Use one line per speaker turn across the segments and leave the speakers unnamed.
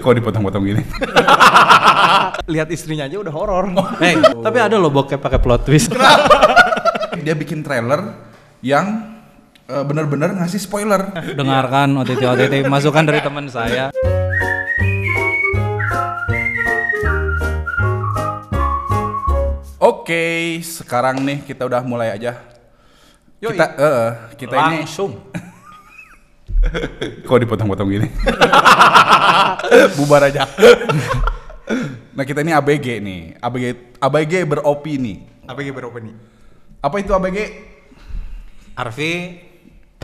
Kok dipotong-potong gini?
lihat istrinya aja udah horor. Oh. Hey, tapi ada loh bokep pakai plot twist.
Dia bikin trailer yang eh, bener-bener ngasih spoiler.
Dengarkan OTT OTT masukan dari teman saya.
Oke, sekarang nih kita udah mulai aja.
Yoi.
Kita eh, kita ini
Langsung.
kok dipotong-potong gini. Bubar aja. nah, kita ini ABG nih. ABG ABG beropini.
ABG berapa nih?
Apa itu ABG?
Arfi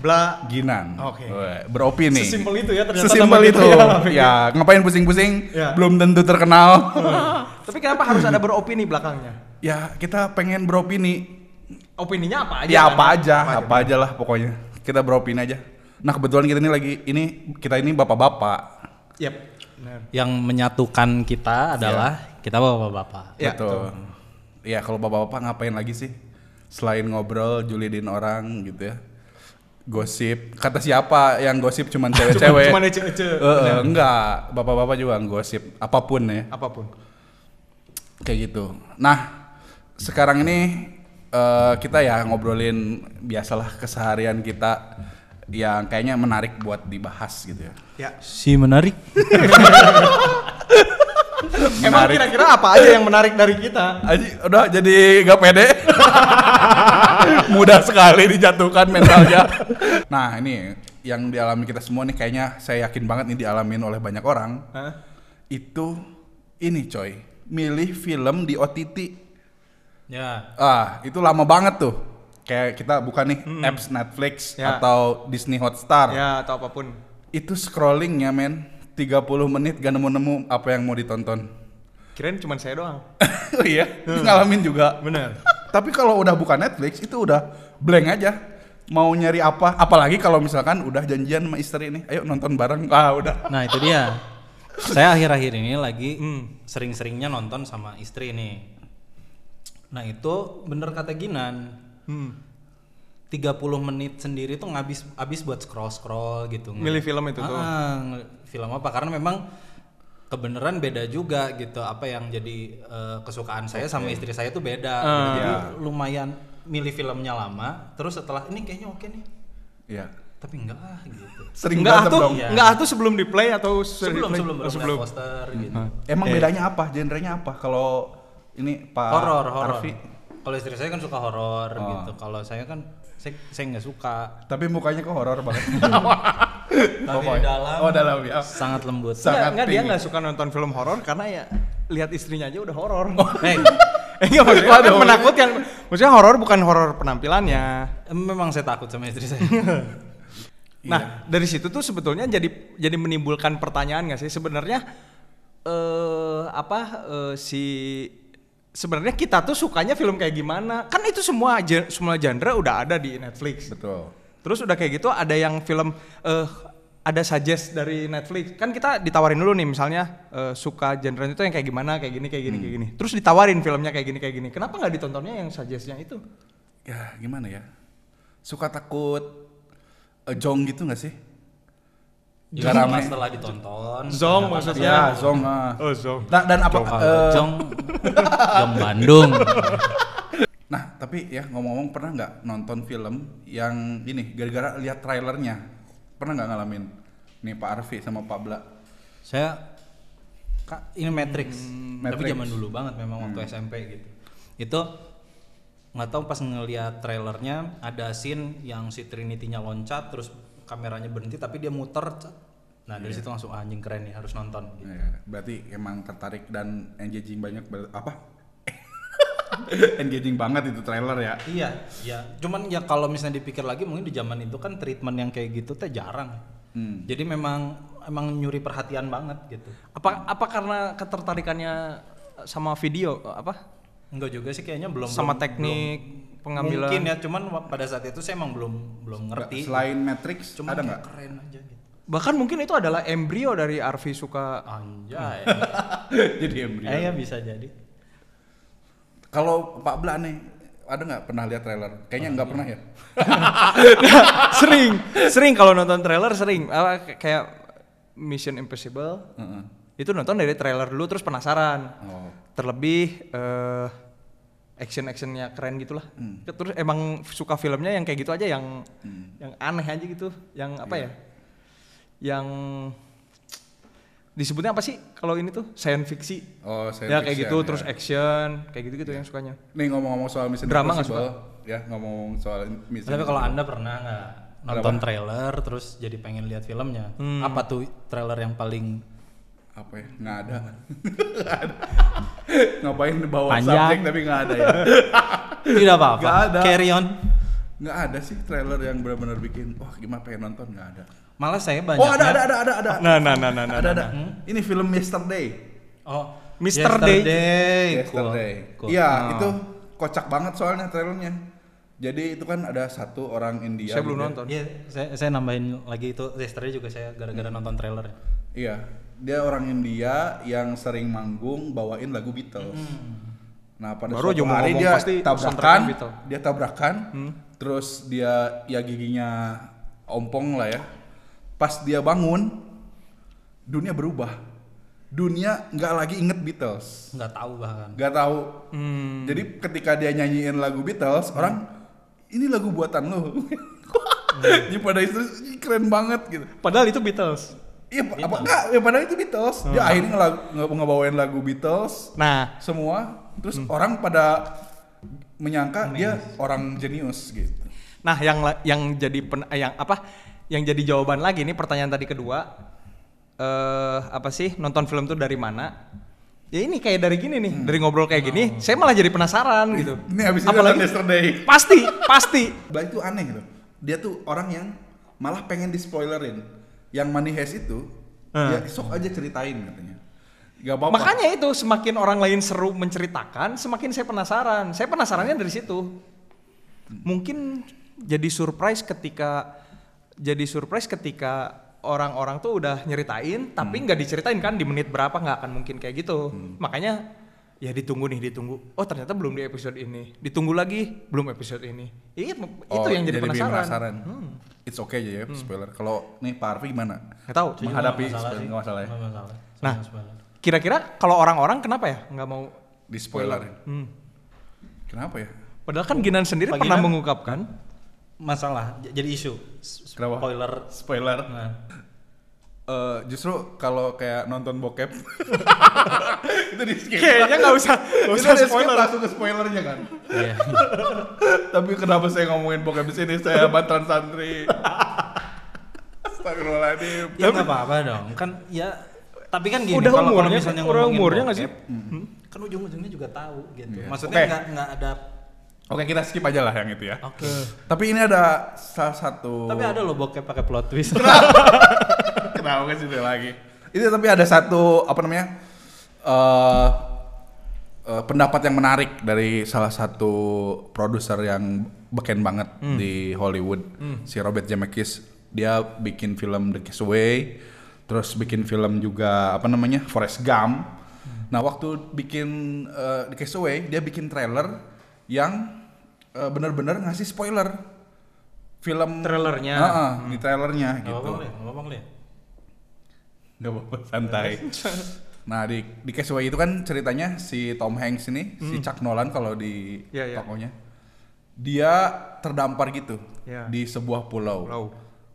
Bla
Ginan.
Oke.
Weh, Beropini.
Sesimpel itu ya ternyata
Sesimpel
nama
itu.
gitu ya, ABG.
Ya, ngapain pusing-pusing?
Ya.
Belum tentu terkenal.
Tapi kenapa harus ada beropini belakangnya?
ya, kita pengen beropini.
Opininya apa aja?
Ya
kan?
apa aja, apa aja lah pokoknya. Kita beropini aja. Nah kebetulan kita ini lagi ini kita ini bapak-bapak.
Yep. Benar.
yang menyatukan kita adalah kita bapak-bapak.
Ya,
betul. Iya kalau bapak-bapak ngapain lagi sih? Selain ngobrol, julidin orang gitu ya. Gosip. Kata siapa yang gosip cuman cewek-cewek?
Cuman ece-ece.
Eh, eh, enggak, bapak-bapak juga gosip apapun ya.
Apapun.
Kayak gitu. Nah, sekarang ini eh, kita ya ngobrolin biasalah keseharian kita yang kayaknya menarik buat dibahas gitu ya.
Ya.
Si menarik.
Emang kira-kira apa aja yang menarik dari kita?
Aji, udah jadi gak pede. Mudah sekali dijatuhkan mentalnya. Nah, ini yang dialami kita semua nih kayaknya saya yakin banget nih dialamin oleh banyak orang.
Hah?
Itu ini coy, milih film di OTT.
Ya.
Ah, itu lama banget tuh. Kayak kita buka nih apps Netflix
Hmm. Ya.
atau Disney Hotstar.
Ya atau apapun.
Itu scrollingnya men 30 menit gak nemu-nemu apa yang mau ditonton.
Kirain cuman saya doang.
oh iya,
Hmm.
ngalamin juga.
Bener.
Tapi kalau udah buka Netflix itu udah blank aja. Mau nyari apa? Apalagi kalau misalkan udah janjian sama istri nih, ayo nonton bareng. Ah, udah.
Nah, itu dia. Saya akhir-akhir ini lagi
Hmm.
sering-seringnya nonton sama istri nih. Nah, itu bener kata Ginan.
Hmm.
30 menit sendiri tuh ngabis habis buat scroll scroll gitu.
Milih film itu tuh.
Ah, ngel- film apa? Karena memang kebenaran beda juga gitu. Apa yang jadi eh, kesukaan saya sama istri saya tuh beda. gitu.
Ah.
Jadi
Ya.
lumayan milih filmnya lama. Terus setelah ini kayaknya oke nih.
Iya.
Tapi enggak ah gitu.
Sering
Enggak
berantem
atuh,
dong.
Iya.
enggak atuh sebelum di play atau sudah
Sebelum
di-play?
sebelum
Oh,
baru
sebelum.
ngeliat poster gitu.
Ah.
Emang bedanya apa? Genrenya apa? Kalau ini Pak
Horor, horor.
Arfi.
Kalau istri saya kan suka horor
Oh.
gitu. Kalau saya kan saya saya nggak suka.
Tapi mukanya kok horor banget.
Tapi dalam
Oh, dalam ya.
sangat lembut.
Sa- Sangat
Enggak, enggak, dia
tinggi.
nggak suka nonton film horor karena ya lihat istrinya aja udah horor.
Hey,
Eh, Enggak maksudnya kan
Oh, iya. Waduh.
menakutkan. Maksudnya horor bukan horor penampilannya.
Ya, memang saya takut sama istri saya.
Iya.
Nah, dari situ tuh sebetulnya jadi jadi menimbulkan pertanyaan nggak sih sebenarnya eh apa eh, si sebenarnya kita tuh sukanya film kayak gimana? Kan itu semua gen- semua genre udah ada di Netflix.
Betul.
Terus udah kayak gitu ada yang film eh ada suggest dari Netflix. Kan kita ditawarin dulu nih misalnya eh, suka genre itu yang kayak gimana, kayak gini, kayak gini, kayak gini. Terus ditawarin filmnya kayak gini, kayak gini. Kenapa nggak ditontonnya yang suggestnya itu?
Ya, gimana ya? Suka takut eh, jong gitu nggak sih?
Jadi
Gak rame.
setelah ditonton.
Zong
kenapa
maksudnya.
Ya, zong. ah.
Oh, so.
Nah, dan apa?
nggak-
eh,
Iya. Ah, Jong, Jong Bandung.
Nah, tapi ya ngomong-ngomong pernah nggak nonton film yang ini gara-gara lihat trailernya? Pernah nggak ngalamin? Nih Pak Arfi sama Pak Bla.
Saya Kak, ini Matrix. Tapi
Hmm, Matrix. Hmm.
zaman dulu banget memang waktu SMP gitu. Itu nggak tahu pas ngelihat trailernya ada scene yang si Trinity-nya loncat terus kameranya berhenti tapi dia muter. cet.
Iya.
Nah, dari situ langsung "Ah, anjing keren nih harus nonton. gitu.
Ya, berarti emang tertarik dan engaging banyak ber- apa? engaging banget itu trailer ya.
Iya, iya. Cuman ya kalau misalnya dipikir lagi mungkin di zaman itu kan treatment yang kayak gitu teh jarang.
Hmm.
Jadi memang emang nyuri perhatian banget gitu.
Apa apa karena ketertarikannya sama video apa?
Enggak juga sih kayaknya belum
sama
belum-
teknik
belum-
pengambilan.
Mungkin ya, cuman wa- pada saat itu saya emang belum belum ngerti.
Selain Matrix
cuman
ada
kayak
nggak?
keren aja gitu.
Bahkan mungkin itu adalah embrio dari Arfi suka
Anjay.
Jadi embrio.
Eh ya Iya, bisa jadi.
Kalau Pak Bla nih ada nggak pernah lihat trailer? Kayaknya nggak pernah ya.
sering sering kalau nonton trailer sering Apa, kayak Mission Impossible
Heeh.
Itu nonton dari trailer dulu terus penasaran.
Oh.
Terlebih eh action-actionnya keren gitulah. Terus emang suka filmnya yang kayak gitu aja yang yang aneh aja gitu, yang apa ya? Yang disebutnya apa sih kalau ini tuh science fiksi?
Oh, science
ya kayak
fiction,
gitu
ya.
terus action kayak gitu gitu yang sukanya.
Nih ngomong-ngomong soal Mission
Drama nggak
Impossible, ya ngomong soal Mission
Tapi
Impossible.
kalau anda pernah nggak nonton trailer terus jadi pengen lihat filmnya?
Hmm.
Apa tuh trailer yang paling
apa ya? Nggak ada. Nggak ada. Ngapain bawa
Panjang.
subjek tapi nggak ada ya?
tidak
Nggak
apa-apa?
ada.
Carry on.
Nggak ada sih trailer yang benar-benar bikin wah gimana pengen nonton nggak ada.
Malah saya banyak.
Oh ada ada ada ada ada.
Nah, nah, nah, nah, nah.
ada ada. Ini film Yesterday.
Oh,
Mr.
Yesterday. Eh, Cool.
Yesterday.
Ah.
Cool.
Iya, itu kocak banget soalnya trailernya. Jadi itu kan ada satu orang India.
Saya belum
gitu.
nonton.
Iya, saya, saya nambahin lagi itu yesterday juga saya gara-gara
Hmm.
nonton trailer.
Iya, dia orang India yang sering manggung bawain lagu Beatles. Nah pada
Baru aja
suatu
mau
hari
ngomong,
dia
pasti
tabrakan,
soundtracknya Beatles. Hmm.
dia tabrakan, terus dia ya giginya ompong lah ya. Pas dia bangun, dunia berubah. Dunia nggak lagi inget Beatles.
Nggak tahu bahkan.
nggak tahu.
Hmm.
Jadi ketika dia nyanyiin lagu Beatles, orang ini lagu buatan lo.
Iya.
Jadi pada itu "Ih, keren banget gitu.
Padahal itu Beatles.
Iya, pa- apa enggak? Ya padahal itu Beatles. Dia
Hmm.
akhirnya ngelagu- nge- ngebawain lagu Beatles
Nah,
semua. Terus
Hmm.
orang pada menyangka dia orang jenius gitu.
nah yang la- yang jadi pen- eh, yang apa? Yang jadi jawaban lagi nih pertanyaan tadi kedua. Eh apa sih nonton film tuh dari mana? Ya ini kayak dari gini nih, dari ngobrol kayak gini, saya malah jadi penasaran gitu.
Ini habis itu nonton
Apalagi
yesterday.
pasti pasti
Bah itu aneh gitu. Dia tuh orang yang malah pengen di spoilerin. Yang Money Heist itu,
Hmm.
ya sok aja ceritain katanya. Gak apa-apa.
Makanya itu semakin orang lain seru menceritakan, semakin saya penasaran. Saya penasarannya dari situ. Mungkin jadi surprise ketika jadi surprise ketika orang-orang tuh udah nyeritain, tapi nggak diceritain kan di menit berapa nggak akan mungkin kayak gitu. Makanya ya ditunggu nih, ditunggu. Oh ternyata belum di episode ini. Ditunggu lagi, belum episode ini. Iya, itu
Oh,
yang jadi,
lebih
penasaran. Hmm.
penasaran. It's okay aja ya spoiler. Kalau nih Pak Arfi gimana?
Nggak tahu.
Saya juga
Menghadapi
nggak masalah
spoiler,
sih.
nggak masalah ya?
Nggak masalah. Saya
Nah.
nggak spoiler.
Kira-kira kalau orang-orang kenapa ya nggak mau?
Di spoilerin.
Hmm.
Kenapa ya?
Padahal kan Ginan sendiri
Pak
pernah
Ginan-
mengungkapkan.
Masalah j- jadi isu. S-
Kenapa?
Spoiler.
Spoiler.
Nah,
Eh, justru kalau kayak nonton bokep itu di skip.
Kayaknya nggak usah, nggak
Itu
usah
di skip
spoiler.
langsung ke spoilernya kan.
iya.
Tapi kenapa saya ngomongin bokep di sini? Saya bantuan santri. Astagfirullahaladzim.
ya nggak apa-apa dong. Kan ya tapi kan gini
Udah
kalau- kalau
umurnya-
misalnya
udah
ngomongin
umurnya nggak
bokep,
sih?
hmm.
Kan ujung-ujungnya juga tahu gitu.
Iya.
Maksudnya
Oke.
nggak nggak ada
Oke kita skip aja lah yang itu ya.
Oke.
Tapi ini ada salah satu.
Tapi ada loh bokep pakai plot twist.
Kenapa ke situ lagi? Itu Iya, tapi ada satu apa namanya? eh eh, pendapat yang menarik dari salah satu produser yang beken banget di Hollywood, si Robert Zemeckis. Dia bikin film The Castaway, terus bikin film juga apa namanya? Forrest Gump. Nah, waktu bikin eh, The Castaway, dia bikin trailer yang eh, bener-bener ngasih spoiler film
Trailernya.
Heeh, di trailernya
Nggak
gitu.
apa-apa Li, nggak apa-apa Li.
Gak apa-apa, santai. nah di di Castaway itu kan ceritanya si Tom Hanks ini, si Chuck Nolan kalau di
Iya, iya.
tokonya, dia terdampar gitu
Iya.
di sebuah pulau.
Pulau.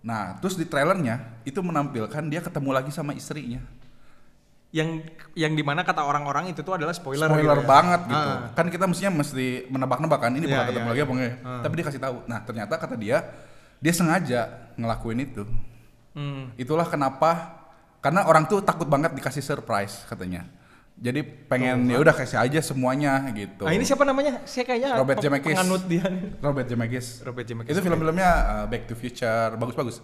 Nah terus di trailernya itu menampilkan dia ketemu lagi sama istrinya.
yang yang dimana kata orang-orang itu tuh adalah spoiler.
Spoiler
gitu ya.
banget gitu.
Ah.
Kan kita mestinya mesti menebak-nebak kan ini
Iya,
bakal
iya,
ketemu lagi apa enggak. ya? Tapi dia kasih tahu. Nah ternyata kata dia dia sengaja ngelakuin itu.
Hmm.
Itulah kenapa karena orang tuh takut banget dikasih surprise katanya. Jadi pengen ya udah kasih aja semuanya gitu.
Nah Oh, ini siapa namanya? Saya kayaknya
Robert
pe-
Zemeckis.
penganut dia nih.
Robert Zemeckis.
Robert Zemeckis.
Itu film-filmnya uh, Back to Future bagus-bagus.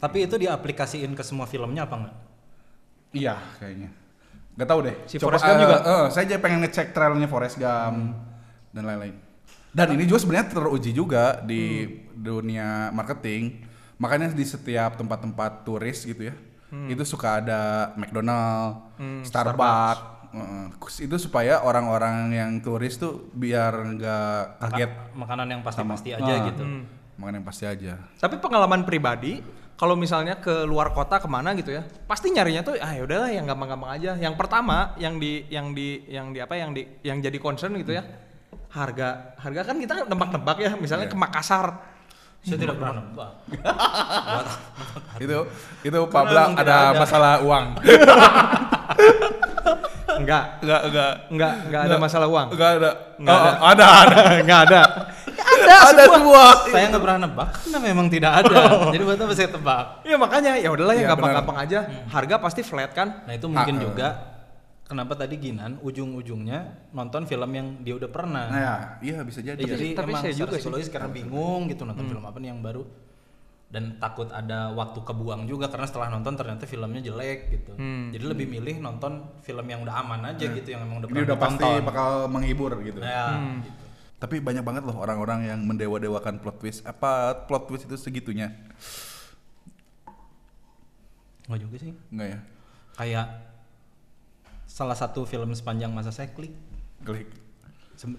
Tapi itu diaplikasiin ke semua filmnya apa enggak?
Iya kayaknya. Gak tau deh.
Si Forrest Gump juga? Hmm.
eh, saya jadi pengen ngecek trailnya Forrest Gump dan lain-lain. Dan ini juga sebenarnya teruji juga di
Hmm.
dunia marketing. Makanya di setiap tempat-tempat turis gitu ya,
Hmm.
itu suka ada McDonald, Starbucks. eh, eh. itu supaya orang-orang yang turis tuh biar nggak kaget
Makanan yang pasti-pasti
sama-
aja
Ah,
gitu.
Makan yang pasti aja.
Tapi pengalaman pribadi kalau misalnya ke luar kota kemana gitu ya pasti nyarinya tuh ah udahlah yang gampang-gampang aja yang pertama yang di yang di yang di apa yang di yang jadi concern gitu ya harga harga kan kita nebak-nebak ya misalnya
Iya.
ke Makassar
Saya tidak pernah nembak.
itu itu Pabla
emang tidak
ada
ada.
masalah uang
enggak
enggak enggak
enggak enggak ada masalah uang
enggak ada
Nggak
Oh,
ada.
oh, ada ada
enggak ada
ada ada semua
saya nggak pernah nebak karena memang tidak ada. Jadi buat apa saya tebak?
ya makanya ya udahlah yang
Iya,
gampang-gampang aja harga pasti flat kan
Nah itu mungkin
Ah, eh.
juga kenapa tadi Ginan ujung-ujungnya nonton film yang dia udah pernah.
nah ya, iya bisa jadi
Ya, jadi
tapi
emang
saya
secara
juga sih.
psikologis karena bingung gitu nonton
Hmm.
film apa nih yang baru dan takut ada waktu kebuang juga karena setelah nonton ternyata filmnya jelek gitu.
Hmm.
Jadi lebih milih nonton film yang udah aman aja gitu yang emang udah
Iya. ini
pernah
udah pasti
ditonton.
bakal menghibur gitu
Nah, gitu.
tapi banyak banget loh orang-orang yang mendewa-dewakan plot twist apa plot twist itu segitunya
Nggak juga sih.
enggak ya
Kayak salah satu film sepanjang masa saya klik.
klik
Sem-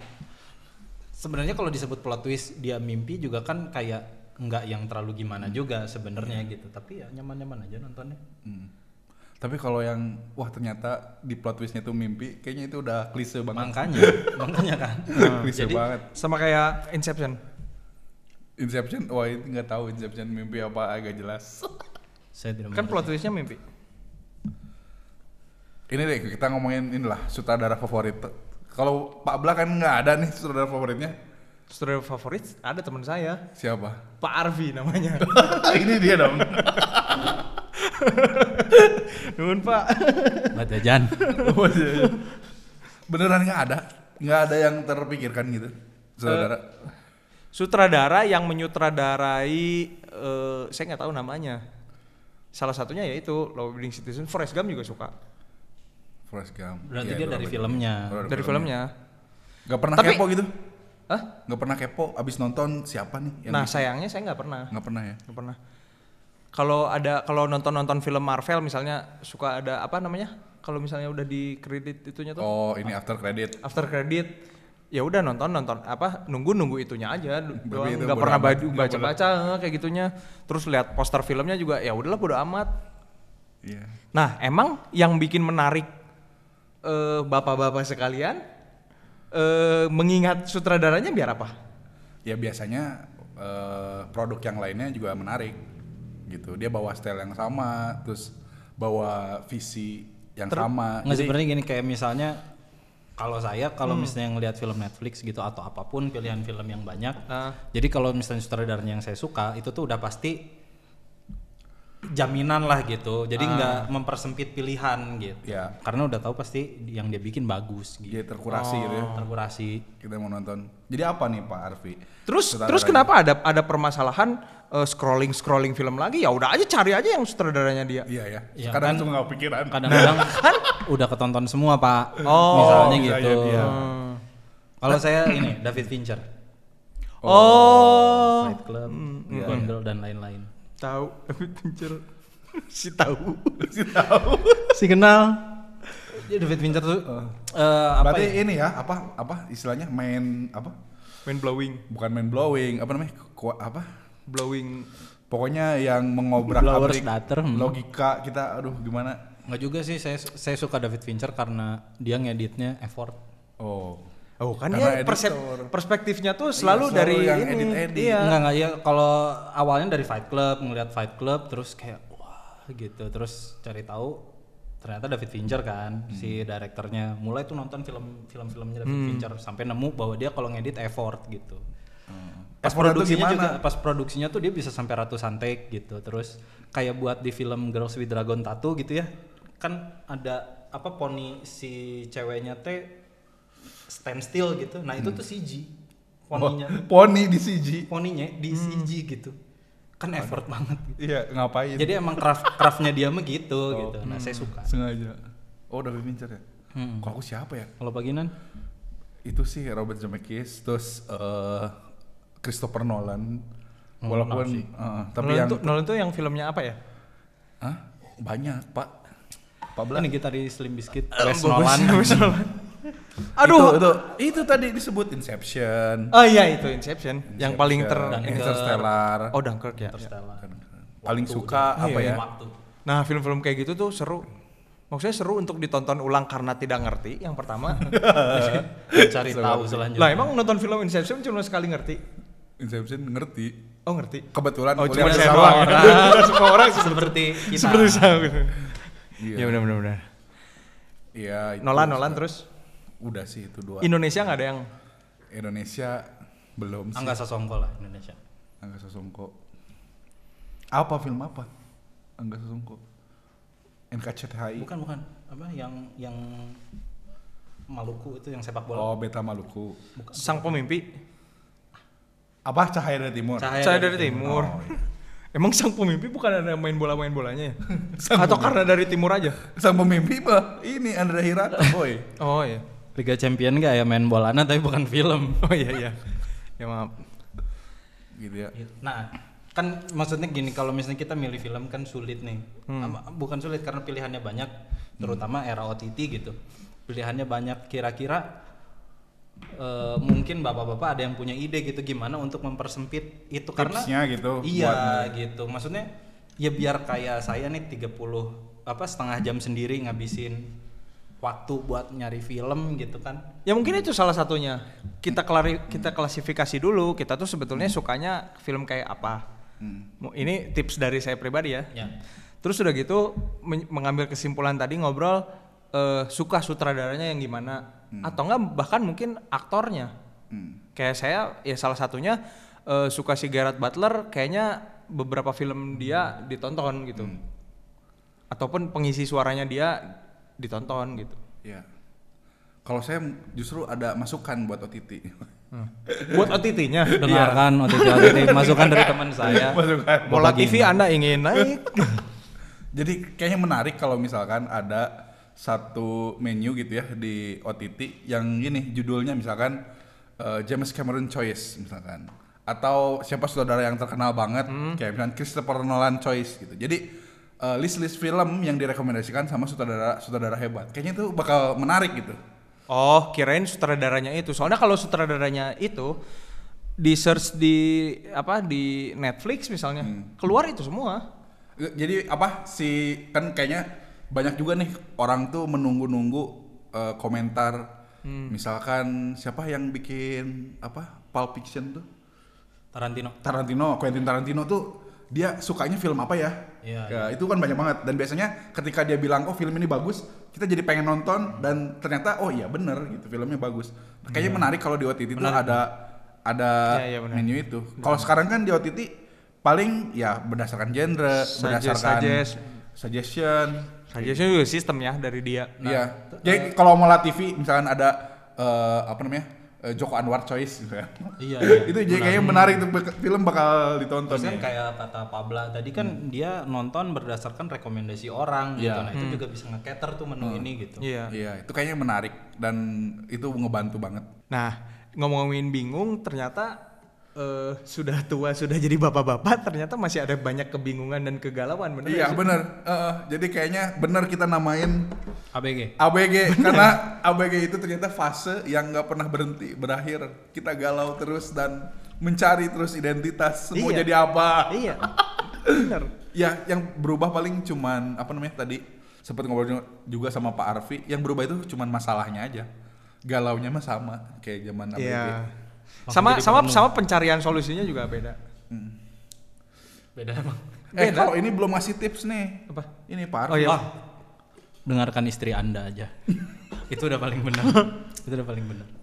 Sebenarnya kalau disebut plot twist dia mimpi juga kan kayak nggak yang terlalu gimana juga sebenarnya gitu. Tapi ya nyaman-nyaman aja nontonnya.
Hmm. tapi kalau yang wah ternyata di plot twistnya itu mimpi kayaknya itu udah klise banget
Makanya, makanya kan.
klise
Jadi
banget
sama kayak Inception
Inception wah ini nggak tahu Inception mimpi apa agak jelas
saya tidak
kan
mengerti.
plot twistnya mimpi
ini deh kita ngomongin inilah sutradara favorit kalau Pak Bla kan nggak ada nih sutradara favoritnya
sutradara favorit ada teman saya
siapa
Pak Arvi namanya
Nah, ini dia dong
Nuhun Pak
Batajan.
beneran nggak ada nggak ada yang terpikirkan gitu saudara
sutradara yang menyutradarai eh, saya nggak tahu namanya salah satunya yaitu Law Abiding Citizen Forrest Gump juga suka
Forrest Gump
Berarti
Iya,
dia
itu
dari
apa?
filmnya.
Oh,
dari filmnya
nggak pernah
Tapi-
kepo gitu
Hah?
nggak pernah kepo abis nonton siapa nih yang
nah
bikin?
sayangnya saya nggak pernah
nggak pernah ya
nggak pernah kalau ada kalau nonton nonton film Marvel misalnya suka ada apa namanya kalau misalnya udah di kredit itunya tuh
oh ini after credit
after credit ya udah nonton nonton apa nunggu nunggu itunya aja do-
Tapi
doang
itu
nggak
bodo
pernah
amat,
baju
nggak
baca baca kayak gitunya terus lihat poster filmnya juga ya udahlah bodo amat
iya
Nah, emang yang bikin menarik eh, bapak-bapak sekalian eh, mengingat sutradaranya biar apa?
ya biasanya eh, produk yang lainnya juga menarik gitu dia bawa style yang sama terus bawa visi yang sama
Nggak
Jadi-
sebenarnya gini kayak misalnya kalau saya kalau misalnya ngelihat film Netflix gitu atau apapun pilihan film yang banyak.
Ah.
Jadi kalau misalnya sutradaranya yang saya suka itu tuh udah pasti jaminan lah gitu. Jadi nggak mempersempit pilihan gitu.
Ya.
Karena udah tahu pasti yang dia bikin bagus gitu.
dia terkurasi gitu ya
Terkurasi.
kita mau nonton jadi apa nih Pak Arfi
Terus
Sutradara
terus
ini.
kenapa ada ada permasalahan eh, scrolling scrolling film lagi? Ya udah aja cari aja yang sutradaranya dia.
iya ya
Ya,
kadang
kan-
cuma nggak pikiran
Kadang-kadang udah ketonton semua, Pak.
Oh,
bisa
misalnya gitu.
jadi ya.
Kalau saya ini David Fincher,
Oh,
Fight Club, Gone Girl dan lain-lain.
tahu David Fincher. si tahu.
si kenal ya David Fincher tuh eh, apa
berarti
ya?
ini ya apa apa istilahnya main apa
Main blowing,
bukan main blowing apa namanya Ku- apa
blowing.
pokoknya yang mengobrak
Blower's
abrik
daughter, hmm.
logika kita aduh gimana
nggak juga sih saya saya suka David Fincher karena dia ngeditnya effort
oh
Oh kan dia
Karena
persep-
editor.
perspektifnya tuh selalu,
selalu
dari
yang
ini.
edit-edit.
Iya.
nggak nggak ya kalau awalnya dari Fight Club ngelihat Fight Club terus kayak wah gitu terus cari tahu ternyata David Fincher kan si direkturnya mulai tuh nonton film film filmnya David Fincher sampai nemu bahwa dia kalau ngedit effort gitu
Effortnya
pas
tuh
produksinya
gimana?
juga pas produksinya tuh dia bisa sampai ratusan take gitu terus kayak buat di film Girls with Dragon Tattoo gitu ya kan ada apa poni si ceweknya teh stand still gitu nah itu tuh CG poninya
Oh, poni di CG
poninya di CG gitu kan effort banget gitu.
iya
Ya.
ngapain
jadi emang craft craftnya dia mah gitu gitu nah saya suka
sengaja oh David Fincher ya
Hmm.
kok aku siapa ya
kalau baginan
itu sih Robert Zemeckis terus eh, Christopher Nolan walaupun eh,
Oh, Nolan
tapi yang
tuh, Nolan tuh yang filmnya apa ya?
Hah? banyak pak 14
ini gitaris Slim Biscuit
Wes
Wes Nolan
Nolan. Aduh.
itu, itu, itu tadi disebut Inception
Oh iya itu Inception, yang paling ter
Inception, Interstellar
Oh Iya, Dunkirk ya.
Interstellar.
paling suka apa ya?
Waktu.
Nah, film-film kayak gitu tuh seru. Maksudnya seru untuk ditonton ulang karena tidak ngerti yang pertama.
Cari tahu selanjutnya.
lah emang nonton film Inception cuma sekali ngerti?
Inception ngerti.
Oh ngerti.
Kebetulan
Oh
kuliah
cuma
di
saya
Sabang.
doang. Semua orang
seperti kita.
seperti saya gitu.
Iya.
Ya benar-benar.
Iya. itu
Nolan Nolan terus
Udah sih itu dua.
Indonesia nggak ada yang
Indonesia belum sih.
Angga Sasongko lah Indonesia.
Angga Sasongko. Apa film apa? Angga Sasongko. NKCTHI.
Bukan bukan apa yang yang Maluku itu yang sepak bola.
Oh, Beta Maluku.
sang pemimpi.
Apa Cahaya dari Timur?
Cahaya
Saya
dari
dari timur.
Oh, iya.
Emang sang pemimpi bukan ada main bola main bolanya ya? Atau karena dari timur aja?
Sang pemimpi mah ini Andra Hirata, boy.
Oh iya.
Liga Champion gak ya main bolana tapi bukan film.
Oh iya iya. Ya maaf.
gitu ya.
Nah, kan maksudnya gini kalau misalnya kita milih film kan sulit nih.
Hmm.
Ama- Bukan sulit karena pilihannya banyak,
Hmm.
terutama era OTT gitu. Pilihannya banyak kira-kira eh, mungkin bapak-bapak ada yang punya ide gitu gimana untuk mempersempit itu
Tipsnya
karena
gitu,
Iya, gitu. Maksudnya ya biar kayak saya nih 30 apa setengah jam sendiri ngabisin waktu buat nyari film gitu kan.
Ya mungkin itu salah satunya. Kita klari, kita klasifikasi dulu. Kita tuh sebetulnya sukanya film kayak apa.
Hmm,
Mu- Ini tips dari saya pribadi ya.
Ya.
Terus udah gitu men- mengambil kesimpulan tadi ngobrol eh, suka sutradaranya yang gimana atau enggak bahkan mungkin aktornya.
hmm,
Kayak saya ya salah satunya eh, suka si Gerard Butler kayaknya beberapa film dia ditonton gitu. Ataupun pengisi suaranya dia ditonton gitu.
Ya. Kalau saya justru ada masukan buat OTT.
Buat OTT-nya.
Iya.
Dengarkan OTT OTT masukan dari teman saya.
masukan.
Bola
Bapak
TV Anda ingin naik?
Jadi kayaknya menarik kalau misalkan ada satu menu gitu ya di OTT yang gini judulnya misalkan eh, James Cameron Choice misalkan atau siapa saudara yang terkenal banget kayak misalkan Christopher Nolan Choice gitu. Jadi eh, list-list film yang direkomendasikan sama sutradara sutradara hebat. Kayaknya itu bakal menarik gitu.
Oh, kirain sutradaranya itu. Soalnya kalau sutradaranya itu di search di apa di Netflix misalnya, keluar itu semua.
Eh, Jadi apa si kan kayaknya banyak juga nih orang tuh menunggu-nunggu eh, komentar misalkan siapa yang bikin apa Pulp Fiction tuh
Tarantino.
Tarantino, Quentin Tarantino tuh dia sukanya film apa ya?
Iya,
Ya, itu kan banyak banget dan biasanya ketika dia bilang oh film ini bagus, kita jadi pengen nonton dan ternyata oh iya bener gitu filmnya bagus. Kayaknya menarik kalau di OTT itu ada ada
Iya, iya, benar.
menu itu. Kalau sekarang kan di OTT paling ya berdasarkan genre,
Suggest-
berdasarkan
suggest.
suggestion.
Saja juga sistem ya dari dia.
Iya. Jadi kalau mau TV misalkan ada eh, apa namanya? eh, Joko Anwar Choice gitu ya.
Iya, iya.
itu jadi kayaknya menarik tuh bak- film bakal ditonton.
Terus
ya.
kan kayak kata Pabla tadi kan dia nonton berdasarkan rekomendasi orang gitu.
Iya.
Nah, itu juga bisa nge-cater tuh menu ini gitu.
Iya.
Iya, itu kayaknya menarik dan itu ngebantu banget.
Nah, ngomongin bingung ternyata eh, sudah tua, sudah jadi bapak-bapak, ternyata masih ada banyak kebingungan dan kegalauan bener nggak
Iya,
sih?
bener. Heeh, jadi kayaknya bener kita namain
ABG.
ABG karena ABG itu ternyata fase yang nggak pernah berhenti, berakhir. Kita galau terus dan mencari terus identitas mau
Iya.
jadi apa.
Iya. bener.
Ya, yang berubah paling cuman apa namanya tadi sempat ngobrol ju- juga sama Pak Arfi, yang berubah itu cuman masalahnya aja. Galaunya mah sama kayak zaman ABG.
Iya.
Langsung
Sama
jadi
sama
perenung.
sama pencarian solusinya juga beda.
Beda emang.
Eh,
Beda.
kalau ini belum ngasih tips nih.
Apa?
Ini Pak Arfi.
Oh iya.
Ah, dengarkan istri Anda aja. itu udah paling benar. itu udah paling benar.